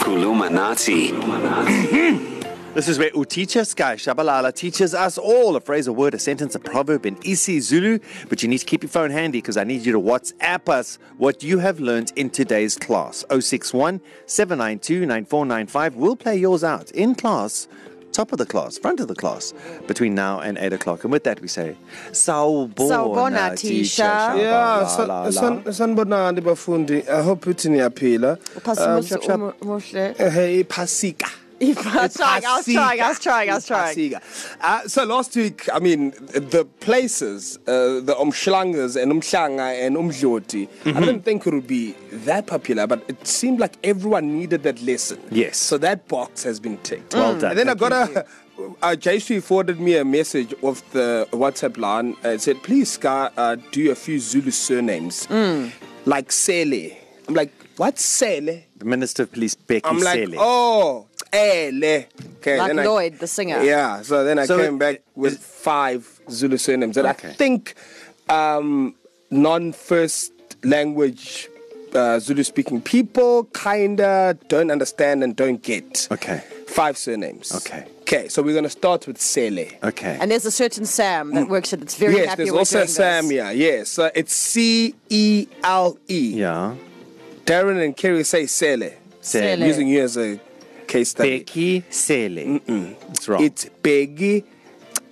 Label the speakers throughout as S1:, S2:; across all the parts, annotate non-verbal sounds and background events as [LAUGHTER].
S1: Kulumanati.
S2: This is where Uticha Sky Shabalala teaches us all a phrase, a word, a sentence, a proverb in Isi Zulu. But you need to keep your phone handy because I need you to WhatsApp us what you have learned in today's class. 061 792 9495. We'll play yours out in class, top of the class, front of the class, between now and 8 o'clock. And with that, we say, Sawubona,
S3: Sawubona, Tisha.
S4: Yeah, uh,
S2: Shabalala."
S4: san- san- sanibonani bafundi. I hope uthi niyaphila.
S3: Uphasimuhle
S4: Um,
S3: umu- muhle.
S4: Ehe, iphasika.
S3: I was trying, I was trying,
S4: um,
S3: I was trying, I was trying.
S4: Iphasika. Uh, so last week, I mean, the places, uh, the Umschlangas and Umschlanga and Umdloti, I
S2: Mm-hmm.
S4: didn't think it would be that popular, but it seemed like everyone needed that lesson.
S2: Yes.
S4: So that box has been ticked.
S2: Well Mm. done.
S4: And then I got a. Uh, Jayshree forwarded me a message of the WhatsApp line. Uh, it said, please, Sky, uh, do a few Zulu surnames. Like Sele. I'm like, what's Sele?
S2: The Minister of Police, Becky
S4: I'm like,
S2: Cele.
S4: oh, ele. Okay,
S3: Like
S4: then I-
S3: Lloyd, the singer.
S4: Yeah, so then I
S2: So
S4: came
S2: it-
S4: back with five Zulu surnames that
S2: Okay.
S4: I think um, non first language uh, Zulu speaking people kinda don't understand and don't get.
S2: Okay.
S4: Five surnames.
S2: Okay.
S4: Okay, so we're gonna start with Sele.
S2: Okay.
S3: And there's a certain Sam that works at it's very
S4: Mm-hmm. yes,
S3: happy
S4: there's
S3: we're
S4: also
S3: doing
S4: Sam
S3: this.
S4: here. Yes, so it's C E L E.
S2: yeah.
S4: Darren and Kerry say Sele.
S2: Sele.
S3: Sele.
S4: Using you as a case study.
S2: Becky Cele. It's wrong.
S4: It's Peggy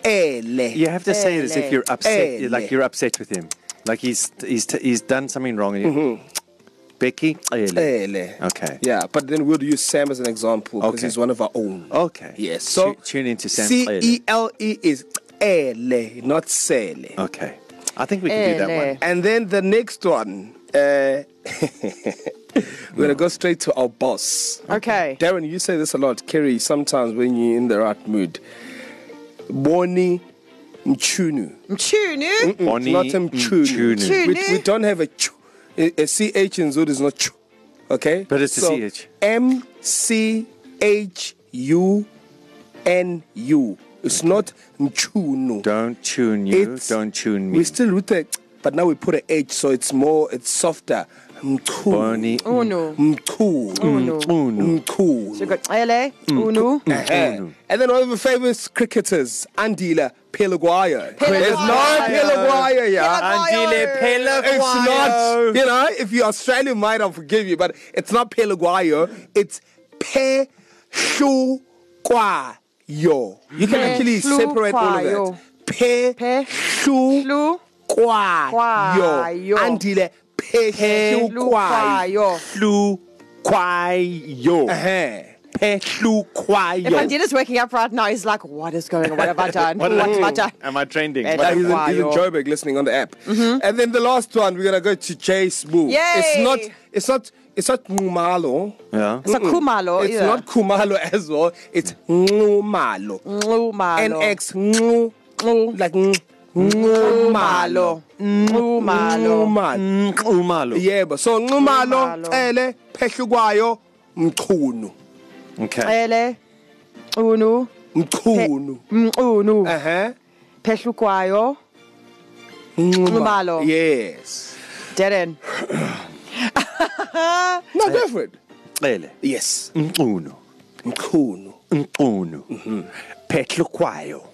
S4: Ele.
S2: You have to say it as if you're upset,
S4: Ele.
S2: like you're upset with him, like he's he's t- he's done something wrong. And you,
S4: Mm-hmm.
S2: Becky, ele.
S4: Ele.
S2: Okay.
S4: Yeah, but then we'll use Sam as an example because
S2: Okay.
S4: he's one of our own.
S2: okay,
S4: Yes.
S2: So
S4: So
S2: tune into Sam.
S4: C E
S2: Ele.
S4: L E is Ele, not Sele.
S2: Okay, I think we can do that
S3: Ele.
S2: one.
S4: And then the next one, uh, [LAUGHS] we're gonna go straight to our boss.
S3: Okay.
S4: Darren, you say this a lot, Kerry. Sometimes when you're in the right mood, Boni Mchunu. Mm-hmm.
S3: Mchunu.
S2: Bonnie
S4: not a mchunu.
S2: Mchunu.
S4: We,
S3: Mchunu?
S4: we don't have a ch. A, a ch in Zulu is not ch. Okay?
S2: But it's a
S4: so,
S2: CH.
S4: M C H U N U. It's not mchunu.
S2: Don't tune you.
S4: It's-
S2: don't tune
S4: We
S2: me.
S4: still root it, but now we put an H, so it's more, it's softer. Mchunu.
S2: Bonnie. Mm.
S3: Oh no.
S4: Mchunu.
S3: no.
S2: Mchunu.
S3: So
S4: Mchunu.
S3: we've got Ele,
S4: Mm-hmm.
S3: Unu.
S4: Uh-huh. And then one of the famous cricketers, Andila Pelaguayo. There's no Pelaguayo, yeah.
S2: Andile Pele
S4: It's
S2: Guayo.
S4: not, you know, if you're Australian, might I'll forgive you, but it's not Pelaguayo. It's Pe Shu Guayo. You can actually separate all of
S3: Pe-shu-guayo.
S4: that. Pe
S3: Pe-
S4: Shu
S3: Lu.
S4: Guayo.
S3: Guayo.
S4: Andile Pe Shu Guayo.
S3: Lukayo.
S2: Plu Kwayo.
S4: Uh-huh.
S2: Plu
S3: If
S2: Kwayo.
S3: Andina's waking up right now, he's like, what is going on? What have I done? what
S2: did I
S3: have I
S2: do?
S4: Mm.
S3: done?
S2: Am I trending?
S3: Ele
S2: What
S4: He's in, he's in
S3: Guayo.
S4: Joburg listening on the app. And then the last one, we're gonna go to Chase Boo.
S3: Mm-hmm. Yay!
S4: It's not it's not it's not Ngumalo.
S2: Yeah.
S4: Mm.
S3: It's a Kumalo.
S4: It's not Kumalo [LAUGHS] as well. It's Ngumalo.
S3: Kumalo.
S4: NX Ngu
S3: Ngu.
S4: like Ngu- Ngumalo.
S3: Kumalo.
S4: Mm-hmm.
S3: Kumalo.
S4: Ngumalo.
S2: Umalu.
S4: Yeah, but so Ngumalo,
S3: Ngumalo.
S4: Ele, Peshugwayo, Mkunu.
S2: Okay.
S3: Ele, Unu.
S4: Mkunu.
S3: Mm, Unu.
S4: Uh-huh.
S3: Peshukwayo. Ngumalo.
S4: Yes.
S3: Dead end.
S4: No different.
S2: Ele.
S4: Yes.
S2: Mchunu.
S4: Mkunu.
S2: Nkunu. Petlukwayo.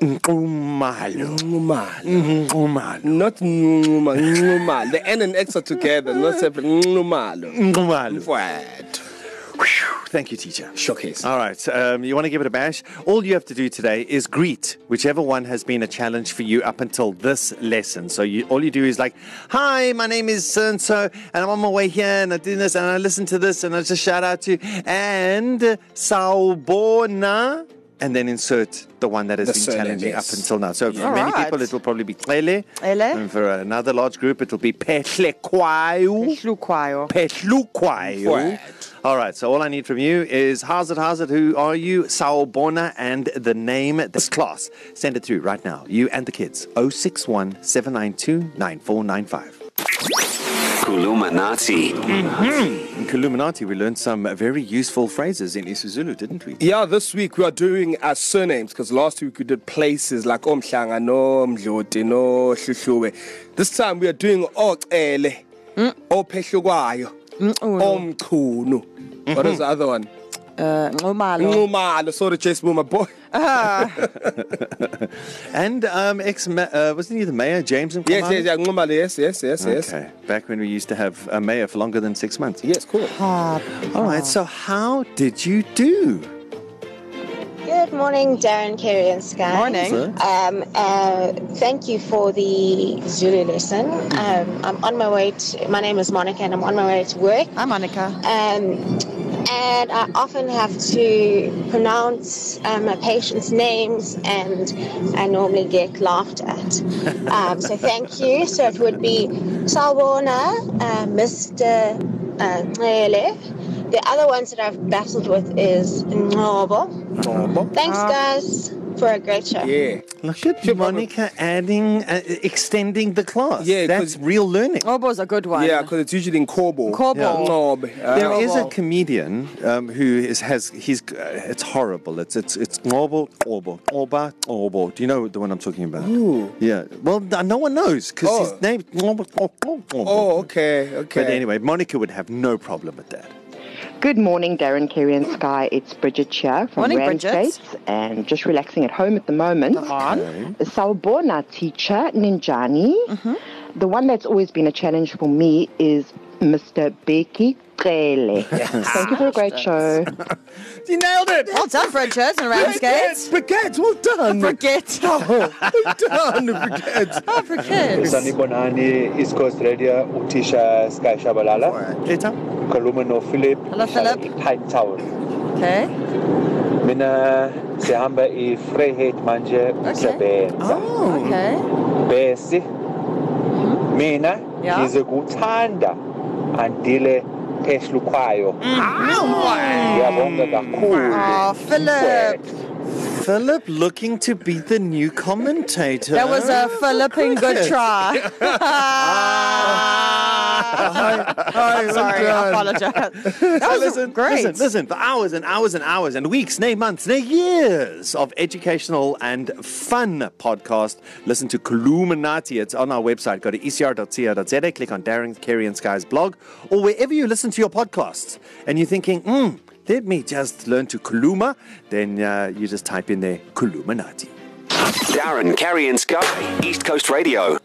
S2: Nkumalo.
S4: Ngumalo.
S2: Nkumalo.
S4: Not Numa, Numa. The N and X are together, not separate. Numalo.
S2: Nkumalo.
S4: What?
S2: Thank you, teacher.
S4: Showcase.
S2: All right, um, you want to give it a bash? All you have to do today is greet whichever one has been a challenge for you up until this lesson. So you, all you do is like, "Hi, my name is so and so, and I'm on my way here, and I do this, and I listen to this, and I just shout out to you, and Saubona." And then insert the one that has
S4: The
S2: been
S4: surname,
S2: challenging
S4: yes.
S2: up until now. So for
S3: All
S2: many
S3: right.
S2: people, it will probably be Tlele.
S3: Tlele.
S2: And for another large group, it will be
S3: [LAUGHS]
S2: Petlekwayu.
S3: Peshukwayo.
S2: Petlukwayo.
S4: Right.
S2: All right, so all I need from you is how's it, how's it, who are you, Saobona, and the name this class. Send it through right now, you and the kids. 061 792 9495.
S1: Kulumanati.
S2: In Kaluminati, we learned some very useful phrases in isiZulu, didn't we?
S4: Yeah, this week we are doing our surnames because last week we did places like Omhlanga, no Mdloti,
S2: Mm.
S4: no Shushuwe. This time we are doing Oele, Ophehlukayo,
S2: oh,
S4: Omkhulu. What is the
S2: Mm-hmm.
S4: other one?
S3: Uh, Nxumalo.
S4: Nxumalo. Sorry, Chase Boomer, boy.
S2: And um, ex, ma- uh, wasn't he the mayor, James? And
S4: Yes, yes, yeah, Nxumalo. Yes, yes, yes, yes.
S2: Okay, back when we used to have a mayor for longer than six months.
S4: Yes, cool.
S2: Oh.
S3: Ah,
S2: All right, so how did you do?
S1: Good morning, Darren, Kerry, and Sky.
S3: Morning.
S2: Sir.
S1: Um, uh, thank you for the Zulu lesson. Um, I'm on my way to, my name is Monica, and I'm on my way to work.
S3: Hi, Monica.
S1: Um, and I often have to pronounce um, my patients' names, and I normally get laughed at. Um, so thank you. So it would be Salwana, uh, Mr. Uh, Ngcele. the other ones that I've battled with is Ngobo.
S4: Nxumalo.
S1: Thanks,
S3: Ah.
S1: guys, for a great show.
S4: Yeah.
S2: Look at
S4: Sure, Barbara.
S2: Monica adding, uh, extending the class.
S4: Yeah, 'cause- Oh,
S2: that's real learning.
S3: Obo's Oh, a good one.
S4: Yeah, because it's usually in Kobo.
S3: Kobo.
S4: Yeah. Ngobe.
S2: There
S4: Uh,
S2: is a
S3: Horrible.
S2: comedian um, who is, has he's uh, it's horrible. It's it's it's Ngobo Ngobo Ngoba Ngobo. Do you know the one I'm talking about?
S4: Ooh.
S2: Yeah. Well, th- no one knows because
S4: Oh.
S2: his name Ngobo Ngobo. Ngobo.
S4: Oh, okay, okay.
S2: But anyway, Monica would have no problem with that.
S5: Good morning, Darren, Kerry, and Sky. It's Bridget here from
S3: Morning, Bridget.
S5: Randgate and just relaxing at home at the moment.
S2: Okay.
S5: The Salbona teacher, Ninjani.
S3: Mm-hmm.
S5: The one that's always been a challenge for me is Mr. Becky Kele. Thank you for a great show.
S4: You nailed it.
S3: Well done, Bridget and Ramsgate.
S4: Brigade, well
S2: [LAUGHS]
S3: [LAUGHS]
S4: done.
S3: Forget.
S4: well done, Brigade.
S3: Oh, forget.
S6: Sanibonani, East Coast Radio, Utisha Sky Shabalala,
S2: Eta?
S6: Kalumino Philip,
S3: Hello,
S6: uhlala
S3: Philip.
S6: ePipe Town.
S3: Okay.
S6: Mina sihamba iFreiheit manje umsebenza.
S2: Oh.
S3: Okay.
S6: Bese mina
S3: Mm-hmm. Yeah.
S6: ngizekuthanda andile Keshlukwayo. Ngiyabonga kakhulu.
S3: Mm. Oh, Philip.
S2: Philip looking to be the new commentator. Oh,
S3: That was a Philippine good
S2: [LAUGHS]
S3: try. [LAUGHS]
S4: [LAUGHS]
S3: I'm sorry. I apologize. That was
S2: listen,
S3: great.
S2: Listen, listen, for hours and hours and hours and weeks, nay months, nay years of educational and fun podcast. Listen to Columinati. It's on our website. Go to E ecr.co.za, click on Darren, Kerry, and Sky's blog, or wherever you listen to your podcasts and you're thinking, hmm, let me just learn to Kuluma, then uh, you just type in there Columinati.
S7: Darren, Carrie, and Sky, East Coast Radio.